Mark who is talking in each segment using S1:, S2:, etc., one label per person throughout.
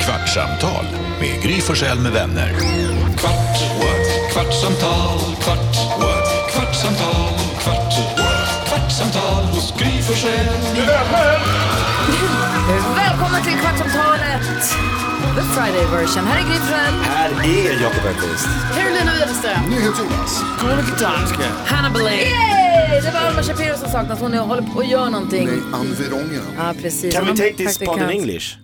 S1: Kvartsamtal med Gry Forssell med vänner.
S2: Kvart, what? kvartsamtal, kvart, what? kvartsamtal, kvart, what? kvartsamtal hos Gry Forssell.
S3: Välkommen till Kvartsamtalet! The Friday version. Här är Gry Forssell.
S4: Här är Jakob Öqvist.
S3: Carolina Widerström. NyhetsJonas. Hanna Belén. Yay! Det var Alma Shapiro som saknas. Hon är och håller på och gör någonting.
S5: Nej, environgerna.
S3: Ja, precis.
S4: Can we
S3: Hon
S4: take this
S3: praktikant.
S4: pod in English?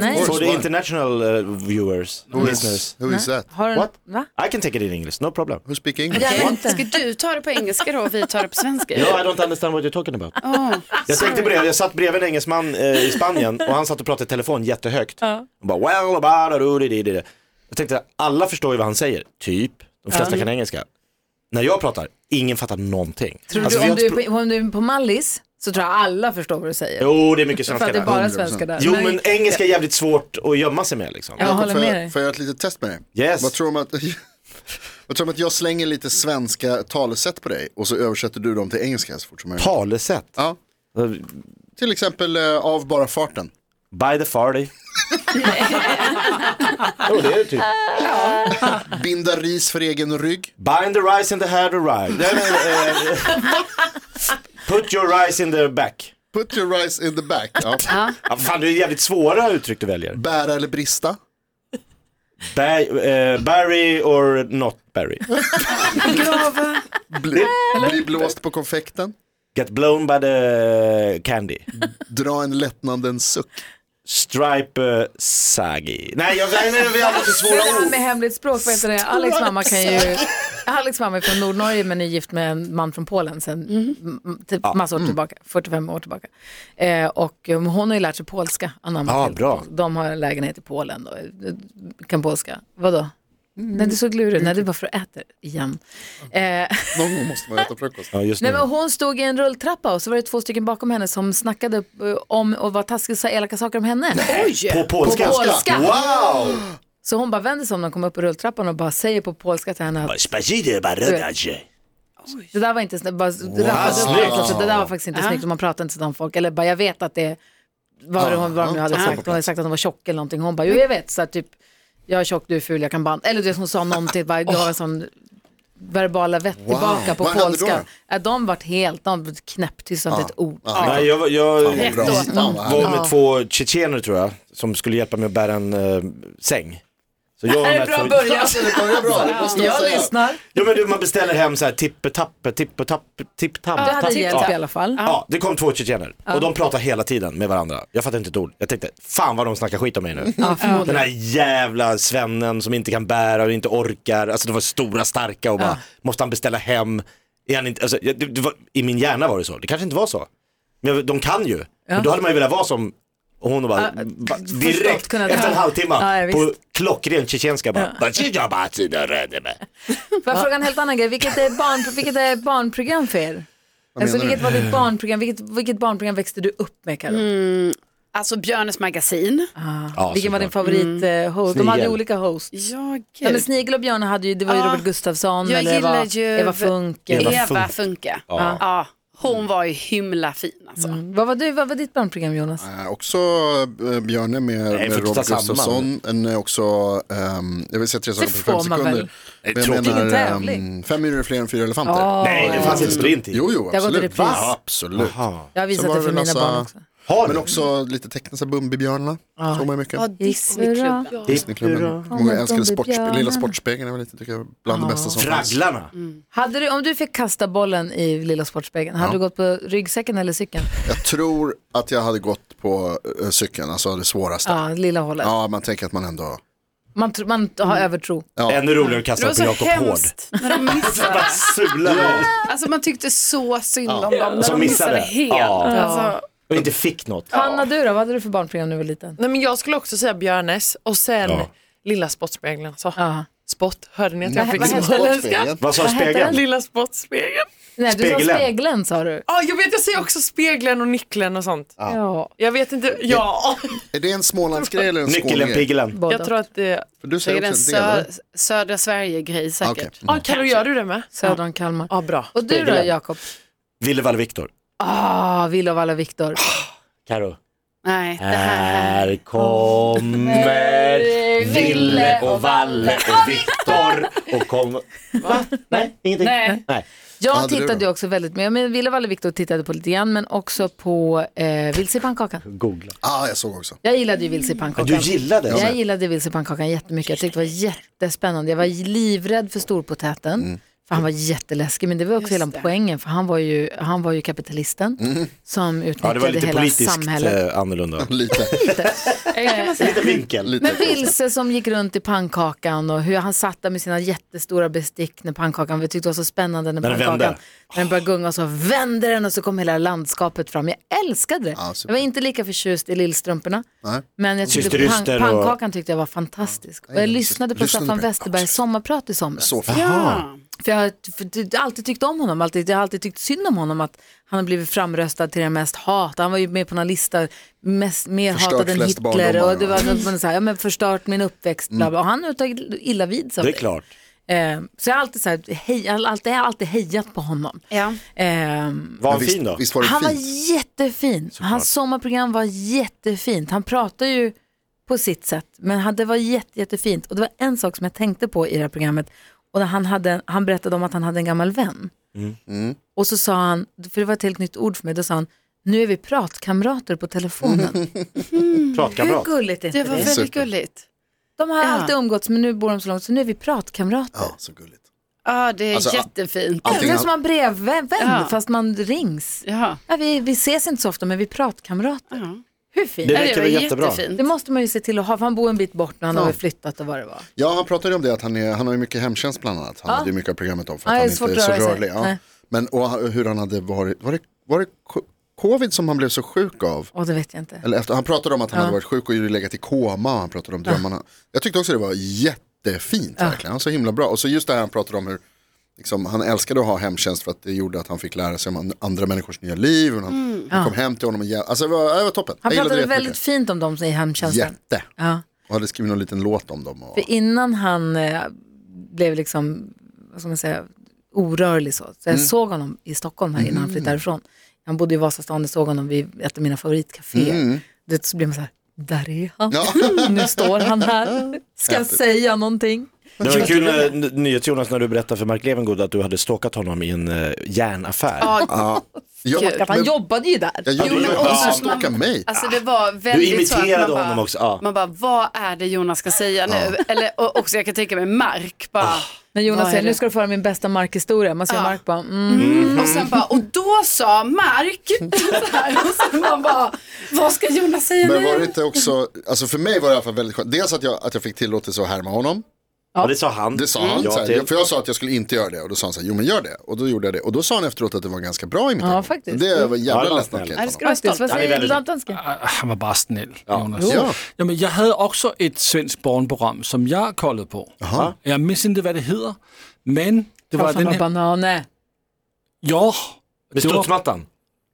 S3: Nej.
S4: For the
S5: why?
S4: international uh, viewers,
S5: Who
S4: listeners.
S5: is, who is that?
S3: Har du...
S4: What?
S3: Va?
S4: I can take it in English, no problem.
S5: Who speak English?
S3: Ja,
S5: What?
S3: inte.
S6: Ska du ta det på engelska då och vi tar det på svenska?
S4: No, I don't understand what you're talking about.
S3: Oh,
S6: Åh,
S4: Jag tänkte på det, jag satt bredvid en engelsman eh, i Spanien och han satt och pratade i telefon jättehögt. Och bara well, about it, it, it. Jag tänkte, alla förstår ju vad han säger, typ. De flesta kan engelska. När jag pratar, ingen fattar någonting.
S3: Tror
S4: Alltså, vi
S3: du, om,
S4: har
S3: du
S4: ett pro-
S3: är på, om du är på Mallis så tror jag alla förstår vad du säger.
S4: Jo, det är mycket
S3: För
S4: svenska
S3: att det är
S4: där.
S3: bara
S5: 100%.
S3: svenskar där.
S4: Jo, men engelska är jävligt svårt att gömma sig med liksom.
S3: Jag håller
S5: får,
S3: med
S5: jag,
S3: dig.
S5: får jag göra ett litet test med dig?
S4: Yes.
S5: Vad tror du om att, vad tror du om att jag slänger lite svenska talesätt på dig och så översätter du dem till engelska så fort som möjligt?
S4: Talesätt.
S5: Ja, till exempel eh, av bara farten.
S4: By the farty. Jo, det är det typ.
S5: Binda ris för egen rygg.
S4: Bind the rice in the hair to ride. Nej, men, eh, Put your rice in the back.
S5: Put your rice in the back. Ja.
S4: Ja, fan, det är jävligt svåra uttryck du väljer.
S5: Bära eller brista.
S4: Ba eh, Barry or not Barry.
S5: Bli, bli blåst på konfekten.
S4: Get blown by the candy.
S5: Dra en lättnadens suck.
S4: Stripe eh, saggy. Nej, jag, nej, nej, vi har alldeles för
S3: Det
S4: svåra
S3: här
S4: ord.
S3: med hemligt språk, vad heter det? Alex mamma kan ju... Alex mamma är från Nordnorge men är gift med en man från Polen sedan
S4: Mhm.
S3: m- typ massa
S4: Mm.
S3: år tillbaka, 45 år tillbaka. Eh, och um, hon har ju lärt sig polska, anammat
S4: Ja,
S3: helt.
S4: bra.
S3: De har en lägenhet i Polen och eh, kan polska. Vadå?
S4: Mm.
S3: Nej, du såg lurig ut. Nej, det är bara för att äta igen. Eh,
S5: Någon gång måste man äta frukost.
S4: Ja, just
S3: Nej,
S4: nu.
S3: men hon stod i en rulltrappa och så var det två stycken bakom henne som snackade eh, om och var taskiga och sa elaka saker om henne.
S4: På polska.
S3: På polska.
S4: Wow!
S3: Så hon bara vände sig om när hon kom upp i rulltrappan och bara säger på polska till henne att
S4: Spasibo, barodajcie.
S3: Det där var inte snyggt, bara rappade upp
S4: Snyggt.
S3: det. Alltså, det där var faktiskt inte
S6: Ja.
S3: snyggt och man pratar inte sådant om folk. Eller bara jag vet att det var hon, vad de nu hade sagt. Hon hade sagt att hon var tjock eller någonting. Hon bara, jo jag vet, så här, typ jag är tjock, du är ful, jag kan band. Eller du vet, hon sa någonting, bara gav en sån verbala vett tillbaka på
S5: Vad hände
S3: polska.
S5: då?
S3: Ja, de vart helt, de vart knäpptysta, inte ett ord.
S4: Nej, jag, var- jag,
S5: Bra.
S6: Rätt
S5: Fan,
S6: åt
S5: vad härligt.
S4: var med två tjetjener tror jag, som skulle hjälpa mig att bära en eh, säng. Så jag och de här två-
S5: Alltså, det börjar bra, det måste jag
S3: Jag
S5: säga.
S3: lyssnar.
S4: Ja men du, man beställer hem så här tippetappe, tippetappe, tipptappe.
S3: Det hade hjälpt i alla fall.
S4: Ja, det kom två tjetjener och de pratar hela tiden med varandra. Jag fattar inte ett ord. Jag tänkte, fan vad de snackar skit om mig nu. Den här jävla svennen som inte kan bära och inte orkar. Alltså de var stora, starka och bara, måste han beställa hem? Är han inte, alltså, jag- det, det var, I min hjärna var det så, det kanske inte var så. Men jag- de kan ju, men då hade man ju velat vara som och hon och bara,
S3: Ja,
S4: bara
S3: förstått,
S4: direkt
S3: kunna-
S4: efter en
S3: Ja,
S4: halvtimme
S3: ja, visst.
S4: på klockren tjetjenska bara.
S3: Får jag fråga en helt annan grej? Vilket är, barn, vilket är barnprogram för er? Alltså,
S5: menar du?
S3: vilket var ditt barnprogram? Vilket, vilket barnprogram växte du upp med, Karo?
S6: Alltså Björnes magasin.
S4: Ja,
S3: Vilken var din
S4: såklart.
S3: favorit eh, host? De hade
S4: Snigel.
S3: olika hosts.
S6: Ja,
S3: Ja, men
S6: gud.
S3: Snigel och Björn hade ju, det var ju
S6: Ja.
S3: Robert Gustafsson
S6: Jag
S3: eller det
S6: gillar
S3: var
S6: ju
S3: Eva Funk. eller-
S4: Eva
S6: Eva
S4: Funke.
S6: Funke. Ja. hon var ju himla fin alltså.
S3: Vad var, du, vad var ditt barnprogram Jonas?
S5: Eh, också eh, Björne med, med
S4: för att
S5: Robert
S4: ta samman.
S5: Gustafsson. En, eh, också, ehm, jag vill säga tre saker på
S3: får
S5: fem
S3: man väl.
S5: sekunder. Men jag
S4: tråkigt.
S5: menar,
S3: Vilken tävling.
S5: ehm, fem myror är fler än fyra elefanter.
S4: Nej, det fanns en sprint i.
S5: Jo,
S3: Det
S5: jo,
S3: har gått i
S5: absolut.
S3: repris.
S5: Ja, absolut.
S3: Jag har visat
S5: var
S3: det för
S5: det
S3: mina
S5: Lasse-
S3: barn också.
S4: Har
S5: Men
S4: du?
S5: också lite tecknat sig Bumbibjörnarna. Såg man ju mycket.
S6: Ja, Disneyklubben.
S5: Disneyklubben. Många älskade sport, Lilla Sportspegeln. Det var lite, tycker jag, bland det bästa som fanns.
S4: Fragglarna.
S3: Hade du, om du fick kasta bollen i Lilla Sportspegeln, hade du gått på ryggsäcken eller cykeln?
S5: Jag tror att jag hade gått på eh, cykeln, alltså det svåraste.
S3: Ja, lilla hållet.
S5: Ja, man tänker att man ändå...
S3: Man, tr- man har övertro.
S4: Ännu roligare att
S6: Det
S4: kasta
S6: var
S4: på
S6: så
S4: Jakob Hård.
S6: hemskt när de missade.
S4: Bara sula dem.
S6: Alltså man tyckte så synd om dem när
S4: Som
S6: de missade
S4: missade.
S6: helt.
S4: Ja.
S6: Alltså,
S4: Och inte fick något.
S3: Hanna, du då? Vad hade du för barnprogram när du var liten?
S7: Nej, men jag skulle också säga Björnes och sen
S4: Ja.
S7: Lilla Spottspegeln. Så.
S3: Ja.
S7: Spott, hörde ni att jag fick
S3: vad hette
S7: småländska?
S5: Sportspegeln.
S4: Vad sa spegeln?
S7: Lilla Spottspegeln.
S3: Nej, du sa
S4: Spegelen.
S3: spegeln sa du.
S7: Ja, jag vet, jag säger också spegeln och nyckeln och sånt.
S3: Ja,
S7: Jag vet inte, ja.
S5: Är det en Smålandsgrej eller en
S4: Nyckeln,
S5: Skånegrej?
S4: piggelen.
S3: båda.
S7: Jag tror att det...
S5: För Du
S6: det är
S5: säger
S6: en
S5: också en del,
S6: sö södra Sverige-grej säkert.
S5: Okej.
S7: Ja, Carro, gör du det med?
S3: Söder om Kalmar.
S7: Ja, bra.
S3: Och du då
S4: Spegelen.
S3: Jakob?
S4: Ville Valle Viktor.
S3: Ah, Villa och alla Viktor.
S4: Karo.
S6: Nej, det
S4: Äh.
S6: här.
S4: Här kommer Ville och Valle och Viktor och kom... Va? Nej, ingenting.
S6: Nej.
S4: Nej.
S3: Jag
S5: Vad hade du
S3: tittade
S5: då?
S3: ju också väldigt mycket, men Ville Valle Viktor tittade på lite grann, men också på eh, vilse i pannkakan.
S4: Googla.
S5: Ah, jag såg också.
S3: Jag gillade ju vilse i pannkakan.
S4: Du gillade
S3: Jag
S4: det?
S3: gillade vilsepannkakan jättemycket. Jag tyckte det var jättespännande. Jag var livrädd för storpotäten.
S4: Mm.
S3: För han var jätteläskig, men det var också hela poängen. För han var ju, han var ju kapitalisten som
S4: Mm. Ja, det var
S3: utnyttjade
S4: lite
S3: hela
S4: politiskt
S3: samhället.
S4: eh, annorlunda.
S5: Lite.
S4: Lite vinkel.
S5: lite
S3: Men Vilse som gick runt i pannkakan och hur han satt där med sina jättestora bestick när pannkakan, vi tyckte det var så spännande när
S4: När den
S3: pannkakan,
S4: vände.
S3: när den började gunga och så vände den och så kom hela landskapet fram. Jag älskade det.
S5: Ja,
S3: jag
S5: super.
S3: var inte lika förtjust i lillstrumporna,
S5: Nej.
S3: men jag tyckte pan-
S4: Systeryster och-
S3: pannkakan tyckte jag var fantastisk. och jag lyssnade på
S5: lyssnade
S3: Staffan
S5: på det.
S3: Westerbergs sommarprat i somras.
S5: Så fint.
S6: Ja.
S3: För jag har för, jag har alltid tyckt om honom, alltid, jag har alltid tyckt synd om honom att han har blivit framröstad till den mest hatade. Han var ju med på någon lista, mest, mer
S5: Förstört
S3: hatad än
S5: flest
S3: Hitler
S5: barndomar,
S3: och det var
S5: ja.
S3: något man så här, ja, men förstört min uppväxt. Bla, bla. Och han har ju tagit illa vid sig av
S4: Det är klart.
S3: Eh, så jag har alltid, så här, hej, jag har alltid, jag har alltid hejat på honom.
S6: Ja.
S3: Ehm,
S4: Var han
S5: visst,
S4: fin då?
S5: Visst var det
S3: han var
S5: fint?
S3: jättefin. Hans sommarprogram var jättefint. Han pratar ju på sitt sätt, men han- det var jätte, jättefint. Och det var en sak som jag tänkte på i det här programmet. Och när han, hade, han berättade om att han hade en gammal vän. Mm. Och så sa han, för det var ett helt nytt ord för mig, då sa han, nu är vi pratkamrater på telefonen. Hur
S4: Pratkamrat?
S3: gulligt är
S6: Det
S3: inte
S6: var
S3: det?
S6: väldigt
S5: Super.
S6: gulligt.
S3: De har
S6: Ja.
S3: alltid umgåtts, men nu bor de så långt, så nu är vi pratkamrater.
S5: Ja, så gulligt.
S6: Ja, det är
S5: Alltså,
S6: jättefint.
S5: ja.
S3: Det
S5: Antingen-
S3: är som en brevvän,
S6: Ja.
S3: fast man rings.
S6: Ja.
S3: Ja, vi, vi ses inte så ofta, men vi är pratkamrater.
S6: Ja.
S3: Hur fint?
S4: Det
S6: Nej,
S4: verkar
S6: var
S4: väl jättebra.
S3: Det
S6: jättefint.
S3: måste man ju se till att ha, för han bor en bit bort nu, han har väl flyttat och vad det var.
S5: Ja, han pratade ju om det att han, är, han har ju mycket hemtjänst bland annat. Han hade ju mycket av programmet om för
S3: Ja,
S5: att
S3: det är
S5: han
S3: svårt
S5: inte
S3: att
S5: är så
S3: röra sig.
S5: rörlig. Ja.
S3: Nej.
S5: Men och ha- hur han hade varit, var det, var det co- covid som han blev så sjuk av?
S3: Åh, det vet jag inte.
S5: Eller efter, han pratade om att han hade varit sjuk och ju legat i koma och han pratade om drömmarna. Jag tyckte också det var jättefint verkligen, han var så himla bra. Och så just det här han pratade om hur liksom, han älskade att ha hemtjänst för att det gjorde att han fick lära sig om an- andra människors nya liv. Och han, han kom hem till honom och hjäl- alltså, det, var, det var toppen.
S3: Mm. Han
S5: jag gillade
S3: pratade
S5: det
S3: väldigt
S5: jättemycket.
S3: fint om dem i hemtjänsten.
S5: Jätte.
S3: Ja.
S5: Och hade skrivit någon liten låt om dem. Och...
S3: För innan han eh, blev liksom, vad ska man säga, orörlig så. Så jag såg honom i Stockholm här innan han flyttade därifrån. Han bodde i Vasastan, jag såg honom vid ett av mina favoritcaféer. Det, så blev man så här, där är han.
S5: Ja.
S3: nu står han här. Ska jag säga någonting?
S4: Det var kul när, NyhetsJonas när du berättade för Mark Levengood att du hade stalkat honom i en eh, järnaffär.
S5: Ja,
S6: Kul.
S3: Att han
S5: men-
S3: jobbade ju där.
S5: Jag
S4: Ja,
S5: gjorde
S4: du
S5: det,
S4: gjorde
S5: han
S4: det.
S5: stalkade mig.
S6: Alltså det var
S4: Du
S6: väldigt så
S4: imiterade
S6: att man
S4: honom
S6: bara,
S4: också. Ja.
S6: Man bara, vad är det Jonas ska säga nu? Eller och också jag kan tänka mig Mark bara.
S4: Ah.
S3: När Jonas
S6: Vad är
S3: säger,
S6: det?
S3: nu ska du få höra min bästa Mark-historia. Man ser
S6: Ja.
S3: Mark bara, mm.
S6: Och sen bara, och då sa Mark, så här, och sen man bara, vad ska Jonas säga
S5: Men
S6: nu?
S5: var det inte också, alltså för mig var det i alla fall väldigt skönt. Dels att jag, att jag fick tillåtelse att härma honom.
S4: Ja, det sa han.
S5: Det sa han.
S4: Mm. Ja,
S5: så här,
S4: till.
S5: För jag sa att jag skulle inte göra det. Och då sa han så här, jo men gör det. Och då gjorde jag det. Och då sa han efteråt att det var ganska bra imitation.
S3: Ja, faktiskt.
S5: Det var en
S4: Mm. Ja, det
S5: jävla
S4: var
S5: lättnad.
S4: snällt.
S5: kan
S6: Ja,
S5: jag
S6: det
S5: ta
S6: ska du vara stolt
S3: vad
S6: över.
S3: säger
S4: väldigt-
S3: Lantansken?
S8: Ah, Han var bara snäll, Jonas.
S5: honom. Ja.
S8: Ja, men jag hade också ett svenskt barnprogram som jag kollade på.
S5: Jaha.
S8: Jag minns inte vad det heter, men det var
S3: Farfar
S8: den
S3: med
S8: här...
S3: bananer.
S8: Ja,
S4: Med
S8: det var-
S4: studsmattan.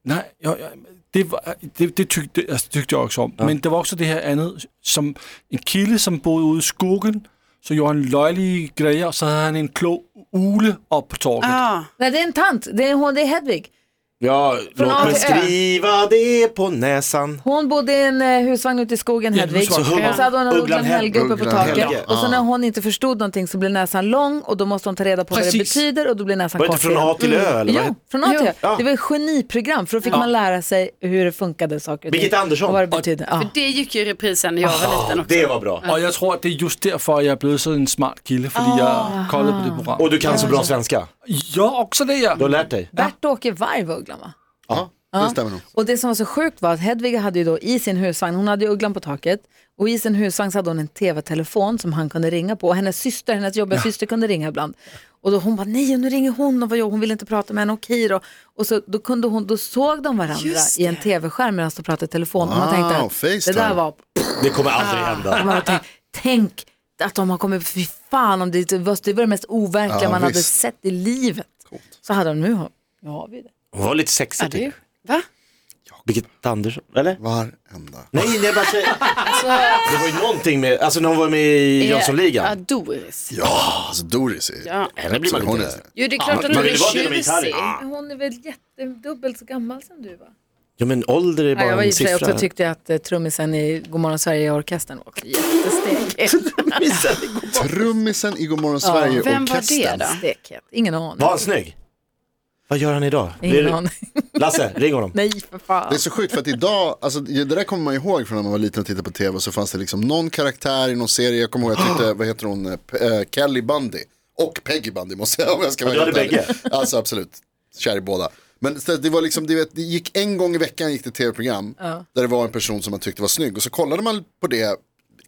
S8: Nej, ja, ja, det, var, det, det tyckte, alltså, tyckte jag också om. Men det var också det här andet, som en kille som bodde ude i skogen, så gjorde han löjliga grejer, så hade han en klog ule upp på torget.
S6: Ja,
S3: Nej, det är en tant. Det är, hon, det är Hedvig.
S4: Ja, låt
S3: A
S4: mig
S3: till Ö.
S4: skriva det på näsan.
S3: Hon bodde i en eh, husvagn ute i skogen,
S8: Ja,
S3: Hedvig.
S8: husvagn.
S3: Och så hade hon en
S4: Ugglan
S3: Ugglan
S4: Hel-
S3: Helge uppe på
S5: Ugglan
S3: taket.
S4: Helge.
S3: Och så när hon inte förstod någonting så blev näsan lång och då måste hon ta reda på vad det
S8: Precis.
S3: betyder och då blir näsan
S4: Var det
S3: kort
S4: inte från A till Ö? Eller vad
S3: Jo,
S4: heter-
S3: från A till Ö.
S4: Ja.
S3: Det var ett geniprogram för då fick man lära sig hur det funkade saker och ting.
S4: Birgitta Andersson.
S3: Och vad det betyder. Ja.
S6: det gick ju i reprisen när jag var liten också.
S4: Ah, Det var bra.
S8: Och jag tror att det är just därför jag är blivit så en smart kille, för jag kollade på det
S4: Och
S8: programmet.
S4: du kan så bra svenska.
S8: Jag också det, ja.
S4: Du har lärt dig.
S3: Bert-Åke Varg var Ugglan va?
S5: Ja, det stämmer nog.
S3: Och det som var så sjukt var att Hedvig hade ju då i sin husvagn, hon hade ju ugglan på taket och i sin husvagn så hade hon en tv-telefon som han kunde ringa på och hennes syster, hennes jobbiga syster kunde ringa ibland. Och då hon bara nej, och nu ringer hon och vad gör hon? Hon vill inte prata med henne, okej då. Och så då, kunde hon, då såg de varandra
S6: Just
S3: i en tv-skärm medan de pratade i telefon och man tänkte
S5: Wow,
S3: att det
S5: FaceTime.
S3: där var,
S4: Det kommer aldrig hända.
S3: man tänkte, tänk att de har kommit, fy fan om det, det var det, var det mest overkliga
S5: Ja,
S3: man hade
S5: visst.
S3: sett i livet. Så hade de nu, har- nu har vi det.
S4: Hon var lite sexig typ.
S6: Va?
S4: Birgitta Andersson, eller?
S5: Varenda.
S4: Nej, nej, bara säger. Det var ju någonting med, alltså när hon var med i
S6: Ja,
S4: Jönssonligan.
S6: Doris.
S5: Ja, alltså Doris är
S6: Ja.
S4: Henne blir man
S5: Hon
S4: lite...
S5: är-
S6: Jo, det är klart att
S4: Man
S6: hon
S4: vill
S6: är
S4: vara till och med
S6: tjusig.
S4: gitarr.
S3: Hon är väl jättedubbelt så gammal som du va?
S4: Ja men ålder är
S3: Ja,
S4: bara
S3: jag var i
S4: en
S3: och för sig
S4: siffra.
S3: också tyckte att eh, trummisen i Godmorgon Sverige-orkestern var också jättestekhet.
S5: Trummisen i Godmorgon Sverige
S6: Vem var
S5: orkestern.
S6: det då?
S3: Stekhet. Ingen aning.
S4: Var han snygg? Vad gör han idag?
S3: Ingen
S4: Blir-
S3: aning.
S4: Lasse, ring honom.
S3: Nej, för fan.
S5: Det är så sjukt för att idag, alltså, det där kommer man ihåg från när man var liten och tittade på tv. Så fanns det liksom någon karaktär i någon serie. Jag kommer ihåg, jag tyckte, vad heter hon, eh, P- eh, Kelly Bundy. Och Peggy Bundy måste jag, om jag ska vara
S4: Ja, du
S5: helt
S4: hade
S5: ärlig. Alltså absolut, kär i båda. Men så det var liksom, du vet, det gick en gång i veckan gick det tv-program. Där det var en person som man tyckte var snygg. Och så kollade man på det,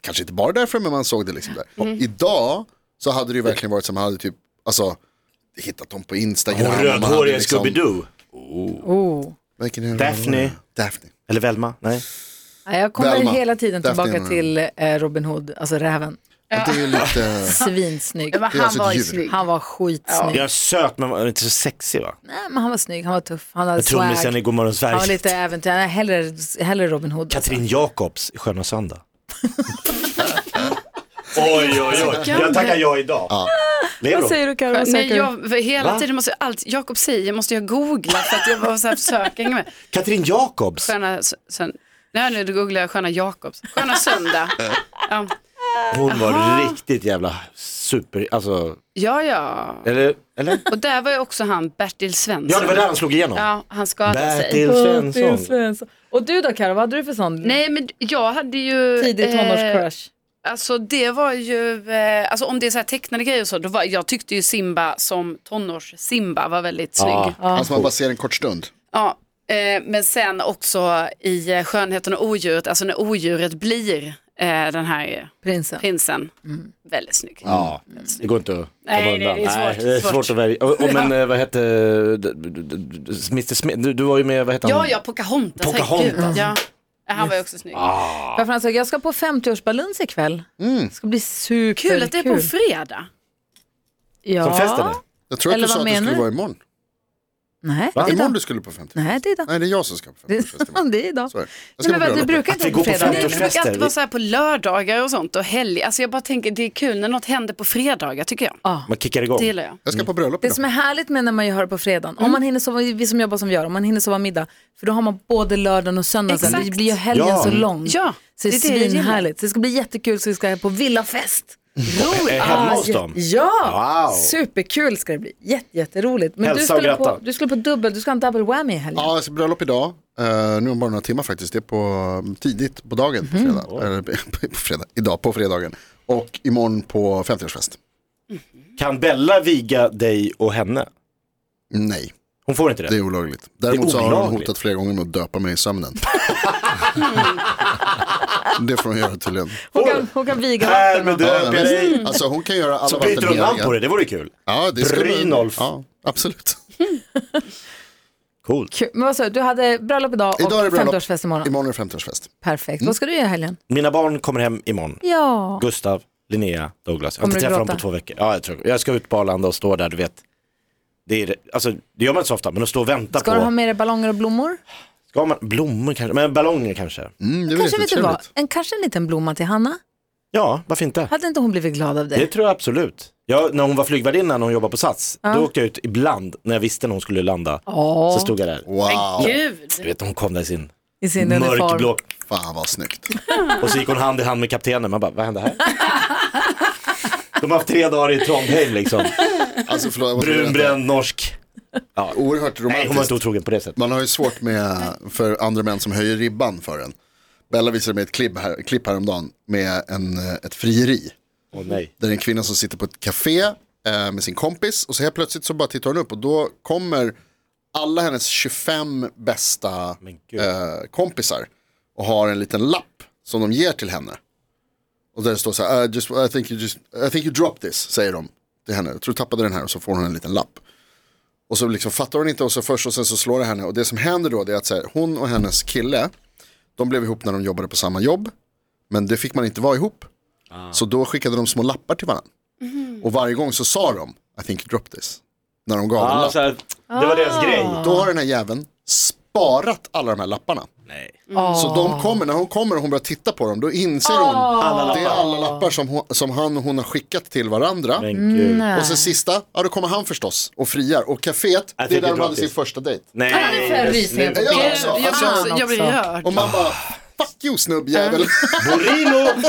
S5: kanske inte bara därför, men man såg det liksom där. Idag så hade det ju verkligen varit som, man hade typ, alltså, hittat dem på Instagram.
S4: Hon
S5: Man hade
S4: rödhåriga
S5: liksom-
S4: Scooby-Doo.
S3: Oh.
S5: Vilken är det?
S4: Daphne.
S5: Daphne.
S4: Eller Velma, nej.
S3: Nej, Jag kommer
S5: Velma.
S3: hela tiden
S5: Daphne
S3: tillbaka
S5: Velma.
S3: till eh, Robin Hood, alltså räven.
S5: Ja. Det är ju lite...
S3: Svinsnygg.
S6: Men
S5: Det är
S6: han
S5: alltså
S6: var
S5: ett
S6: ju
S5: djur.
S6: snygg.
S3: Han var skitsnygg.
S4: Jag är söt men var inte så sexig va?
S3: Nej, men han var snygg, han var tuff, han hade
S4: Trummisen i
S3: swag.
S4: Godmorgon
S3: Han var
S4: Sverige.
S3: lite äventyr. Nej, Hellre, hellre Robin Hood. alltså.
S4: Katrin Jakobs i Sköna Söndag. oj, oj, oj. Jag tackar ja idag. Lever
S3: Vad
S4: hon?
S3: säger du Karo? Vad
S6: Nej,
S3: söker du?
S6: jag, för hela
S4: Va?
S6: tiden måste jag, allt Jakob säger måste jag googla för att jag bara så här försöker hänga med.
S4: Katrin Jakobs?
S6: Sköna söndag. Nej, nu googlar jag Sköna Jakobs. Sköna söndag. Ja,
S4: Hon var riktigt jävla super, alltså,
S6: ja. ja.
S4: eller? eller?
S6: Och där var ju också han Bertil Svensson.
S4: Ja, det var där han slog igenom.
S6: Ja, han skadade sig.
S4: Bertil
S3: Bertil
S4: Svensson.
S3: Svensson. Och du då Karo, vad hade du för sån
S6: Nej, men jag hade ju...
S3: tidig
S6: eh,
S3: tonårscrush?
S6: Alltså det var ju, eh, alltså om det är så här tecknade grejer och så, då var, jag tyckte ju Simba som tonårs-Simba var väldigt snygg.
S4: Ja.
S6: Ja.
S5: Alltså man bara ser en kort stund.
S6: eh, men sen också i eh, Skönheten och odjuret, alltså när odjuret blir eh, den här
S3: Prinsen.
S6: prinsen,
S3: Mm.
S6: väldigt snygg.
S4: Ja, det går inte att komma
S6: Nej, nej, det är
S4: undan.
S6: svårt,
S4: det är svårt.
S6: svårt.
S4: att välja. Och, och, men eh, vad hette, eh, d- d- d- d- Mr Smith, du, du var ju med, vad hette
S6: Ja,
S4: han?
S6: ja, Pocahontas.
S4: Pocahontas.
S6: herregud. Ja. Han var ju också snygg.
S4: Ah,
S3: För Fransson, jag ska på 50-årsbalans ikväll. Det ska bli superkul.
S6: Kul att det är på en fredag.
S3: ja.
S4: Som festen är.
S5: Jag tror att
S3: Eller
S5: du sa
S3: vad
S5: att det
S3: menar
S5: skulle
S3: du?
S5: vara imorgon.
S3: Nej,
S5: Va?
S3: det är
S5: Imorgon
S3: idag.
S5: du skulle på 50.
S3: Nej, det är idag.
S5: Nej, det är jag som ska på 50.
S3: Nej. Det är idag.
S5: Så är det.
S3: Nej,
S5: Jag ska
S3: men
S5: på
S3: vad, det
S5: bröllop.
S3: brukar
S4: Att
S3: inte
S4: vi
S3: vara på
S4: går på
S3: fredag.
S6: Nej, det brukar alltid
S4: Fester.
S6: vara så här på lördagar och sånt och helg. Alltså jag bara tänker det är kul när något händer på fredagar tycker jag.
S4: Man kickar igång.
S6: Det gillar jag.
S5: Jag ska på bröllop
S3: Det
S5: idag.
S3: som är härligt med när man gör det på fredagen, om man hinner sova, vi som jobbar som vi gör, om man hinner sova middag, för då har man både lördagen och söndagen sen. Det
S6: Exakt.
S3: blir ju helgen
S4: Ja.
S3: så lång.
S6: Ja,
S3: så det är
S6: det är det jag gillar.
S3: svinhärligt. Så det ska bli jättekul, så vi ska på villafest. Roligt!
S4: Ä- hemma hos
S3: ja-
S4: dem?
S3: Ja,
S4: Wow.
S3: superkul ska det bli. Jätte, jätteroligt. Men
S4: Hälsa
S3: du
S4: och
S3: skulle, på,
S4: gratta.
S3: du skulle på dubbel, du ska ha en double whammy i helgen.
S5: Ja, jag ska på bröllop idag. Eh, nu om bara några timmar faktiskt. Det är på, mm, tidigt på dagen
S3: Mhm.
S5: på fredag. Eller, på fredag. Idag på fredagen. Och imorgon på 50-årsfest.
S4: Kan Bella viga dig och henne?
S5: Nej,
S4: Hon får inte det?
S5: det är olagligt. Däremot så har hon
S4: olagligt.
S5: hotat flera gånger med att döpa mig i sömnen. det får hon göra tydligen.
S3: Hon kan, hon kan viga
S4: Här med
S3: vatten. och-
S4: döper jag dig.
S5: Alltså hon kan göra alla
S4: Så byter hon
S5: vatten
S4: namn
S5: heliga.
S4: på det, det vore kul.
S5: Ja, det skulle-
S4: Brynolf.
S5: Ja, absolut.
S4: Coolt.
S3: Kul. Men vad sa du, du hade bröllop idag och
S5: Idag är det bröllop.
S3: 50-årsfest imorgon.
S5: Imorgon är det 50-årsfest.
S3: Perfekt. Vad ska du göra i helgen?
S4: Mina barn kommer hem imorgon.
S3: Ja.
S4: Gustav, Linnea, Douglas. Jag har
S3: Kommer
S4: inte
S3: du
S4: träffat dem på
S3: gråta?
S4: två veckor. Ja, jag tror Jag ska ut på Arlanda och stå där, du vet. Det, är, alltså, det gör man inte så ofta, men att stå och vänta
S3: Ska
S4: på...
S3: du ha med dig ballonger och blommor?
S4: Ska man... Blommor kanske, men ballonger kanske.
S5: Mm, det är väl
S3: Kanske vet du vad,
S5: jättetrevligt.
S3: en, kanske en liten blomma till Hanna?
S4: Ja, varför inte?
S3: Hade inte hon blivit glad av
S4: Det
S3: det?
S4: tror jag absolut. Jag, när hon var flygvärdinna, när hon jobbade på SAS, då åkte jag ut ibland när jag visste när hon skulle landa.
S3: Ja,
S4: Så stod jag där.
S5: Wow,
S6: Gud.
S4: Du vet, hon kom där i sin
S3: i sin uniform.
S4: mörkblå
S5: fan vad snyggt.
S4: Och så gick hon hand i hand med kaptenen, man bara, vad hände här? De har haft tre dagar i Trondheim liksom.
S5: Alltså förlåt, jag måste berätta.
S4: Brunbränd, norsk.
S5: Oerhört
S4: Nej, hon var inte
S5: romantiskt.
S4: otrogen på det sättet.
S5: Man har ju svårt med för andra män som höjer ribban för en. Bella visade mig ett klipp, här, klipp häromdagen med en, eh, ett frieri.
S4: Åh nej.
S5: Där det är en kvinna som sitter på ett café eh, med sin kompis och så helt plötsligt så bara tittar hon upp och då kommer alla hennes 25 bästa
S4: Men gud.
S5: eh, kompisar och har en liten lapp som de ger till henne. Och där det står så här, I, just, I, think you just, I think you dropped this, säger de till henne. Jag tror du tappade den här och så får hon en liten lapp. Och så liksom fattar hon inte och så först och sen så slår det henne. Och det som händer då det är att så här, hon och hennes kille, de blev ihop när de jobbade på samma jobb. Men det fick man inte vara ihop.
S4: Ah.
S5: Så då skickade de små lappar till varandra. Och varje gång så sa de, I think you dropped this. När de gav en
S4: Ah,
S5: lapp.
S6: Ah.
S4: så här, det var deras grej.
S5: Då har den här jäveln sparat alla de här lapparna.
S4: Nej.
S5: Så de kommer, när hon kommer och hon börjar titta på dem, då inser hon att det är alla lappar som, hon, som han och hon har skickat till varandra.
S4: Men gud.
S6: Mm.
S5: Och sen sista, ja då kommer han förstås och friar. Och kaféet,
S4: Jag
S5: det är
S4: tycker
S5: där de
S4: det
S5: hade
S4: låter-
S5: sin första dejt.
S4: Nej.
S3: det är för rysningar på
S5: Ja,
S3: bilden.
S5: alltså,
S6: jag,
S5: alltså,
S6: blir- jag blir rörd.
S5: Och man bara, fuck you snubbjävel.
S4: Burrino!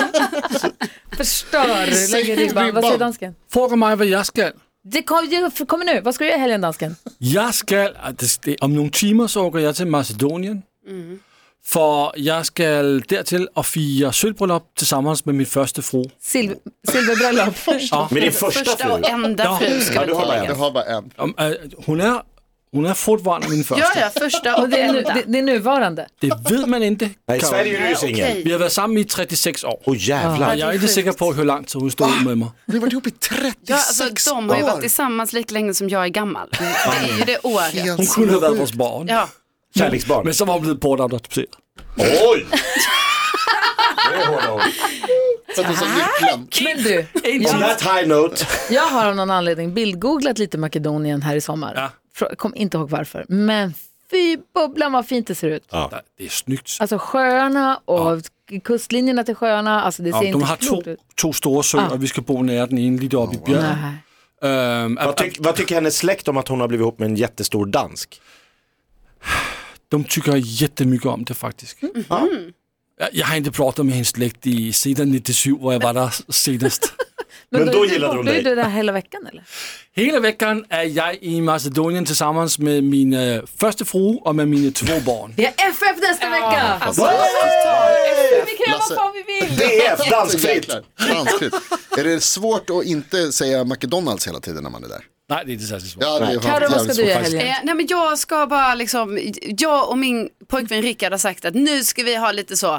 S3: Förstör, lägger ribban. Vad säger dansken?
S8: Fråga mig vad jag ska.
S3: Det kommer kom nu, vad ska du göra i helgen dansken?
S8: Jeg skal, og det, det, om nogle timer, så åker jeg til Macedonien. Mhm. For jeg skal dertil og fire sølvbryllup til sammen med min første fru.
S3: Silv, silverbröllop.
S4: Med din första
S6: Första
S4: fru.
S6: och enda fru ska
S4: Ja,
S6: vi
S4: du har
S6: tillägga.
S4: bara
S5: Jag
S4: en.
S5: har bara en.
S8: Om, øh, hun er, hun er fortfarande min første.
S6: Ja, ja, första och
S3: Och det, är nu,
S6: enda.
S3: det, det är nuvarande.
S8: Det ved man ikke.
S4: Nej, i
S8: Karoline.
S4: Sverige är du singel.
S6: Okej.
S8: Vi har været sammen i 36 år.
S4: Åh jävlar.
S8: Og jeg er ikke sikker på, hvor langt så hun stod ud med mig.
S5: Vi har varit ihop i 36
S6: Ja, alltså, de har ju varit tillsammans lika länge som jag är gammal. Det är ju det året.
S5: Helt
S8: Hun kunne have været vores barn.
S6: Ja,
S4: Kärleksbarn.
S8: Men så var hun blevet bortadopteret.
S4: Oj! Det är hårda ord.
S5: sjukt. Och så
S3: Äh,
S5: lycklan.
S3: Men du,
S4: On
S3: jag,
S4: that high note.
S3: jag har av någon anledning bildgooglat lite Makedonien här i sommar.
S8: Ja.
S3: Frå- Kom inte ihåg varför, men fy bubblan vad fint det ser ut.
S8: Nej, Det er snygt.
S3: Alltså sjöarna och kustlinjerna till sjöarna, alltså det ser
S8: Ja, de
S3: inte
S8: har to,
S3: klokt ut.
S8: to store søer, og vi skal bo nær den ene, lige deroppe i bjerget.
S3: Nej.
S8: Øhm,
S4: Vad, tyck, vad tycker hennes släkt om att hon har blivit ihop med en jättestor dansk?
S8: De tycker jättemycket om det faktiskt. Jag, jag har inte pratat med hennes släkt i sedan 97, var jag var där senast.
S4: Men då
S3: är du
S4: gillade de
S3: borta,
S4: dig.
S3: Är du där hela veckan eller?
S8: Hela veckan är jag i Macedonien tillsammans med min eh, första fru och med mina två barn.
S3: Vi har FF nästa vecka! vi kan göra
S5: Lasse.
S3: vad fan vi vill!
S4: BF, dansfritt!
S5: Jäklar, Vanskligt. Är det svårt att inte säga McDonalds hela tiden när man är där?
S8: Nej, det är inte särskilt svårt.
S5: Ja, det är
S3: Karo, vad ska du göra i helgen?
S6: Eh, nej men jag ska bara liksom, jag och min pojkvän Rickard har sagt att nu ska vi ha lite så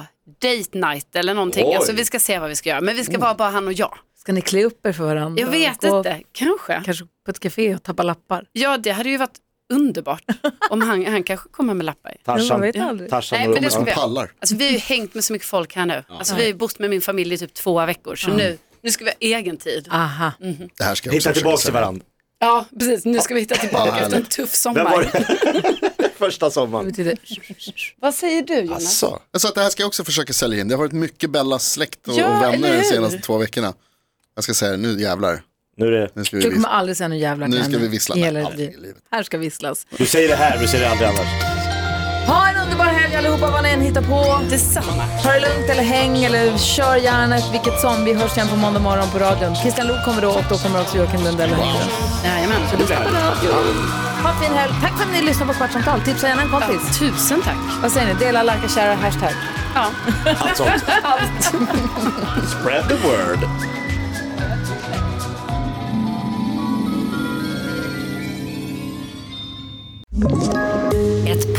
S6: date night eller någonting.
S4: Oj.
S6: Alltså vi ska se vad vi ska göra, men vi ska vara bara han och jag.
S3: Ska ni klä upp er för varandra?
S6: Jag
S4: Mm.
S6: vet
S3: Gå
S6: inte, kanske.
S3: Kanske på ett café och tappa lappar?
S6: Ja det hade ju varit underbart om han, han kanske kommer med lappar.
S3: Man
S4: Tarzan.
S3: vet aldrig.
S4: Tarzan
S6: Nej,
S4: och
S6: men det ska
S4: Robin.
S6: vi-
S5: Pallar.
S6: Alltså vi har ju hängt med så mycket folk här nu. Alltså vi har ju bott med min familj i typ två veckor, så nu, nu ska vi ha egen tid.
S3: Aha.
S5: Det här ska jag också
S4: Hitta tillbaka till
S5: försöka säga.
S4: varandra.
S6: Ja precis, nu ska vi hitta tillbaka
S5: Ja,
S6: efter en
S5: härligt.
S6: tuff
S4: Vem var
S6: sommar.
S4: det? Första
S3: Det
S4: sommaren.
S3: betyder...
S6: Vad säger du Jonas?
S5: Så. Jag sa Alltså, att det här ska jag också försöka sälja in. Det har varit mycket Bellas släkt och,
S6: Ja,
S5: och
S6: eller
S5: vänner de
S6: hur?
S5: senaste två veckorna. Jag ska säga det, nu jävlar.
S4: Nu är det,
S5: Nu ska vi
S3: Du kommer
S5: vissla.
S3: aldrig säga nu jävlar
S5: Nu
S3: till
S5: ska
S3: henne
S5: vi vissla.
S3: i
S5: Nej,
S3: hela
S5: aldrig
S3: ditt
S5: i
S3: liv.
S5: livet.
S3: Här ska visslas.
S4: du säger det här, du säger det aldrig annars.
S3: Ha en underbar helg allihopa vad ni än hittar på.
S6: Detsamma.
S3: Ta det lugnt eller häng eller kör järnet vilket som. Vi hörs igen på måndag morgon på radion. Christian Lok kommer då och då kommer också Joakim Lundell och häng.
S6: Jajamän.
S3: Ha en fin helg. Tack för att ni lyssnar på Kvartsamtal. Tipsa gärna en
S6: Ja,
S3: kompis.
S6: tusen tack.
S3: Vad säger ni? Dela, likea, share, hashtag.
S6: Ja.
S4: Allt sånt. Spread the word.
S9: Ett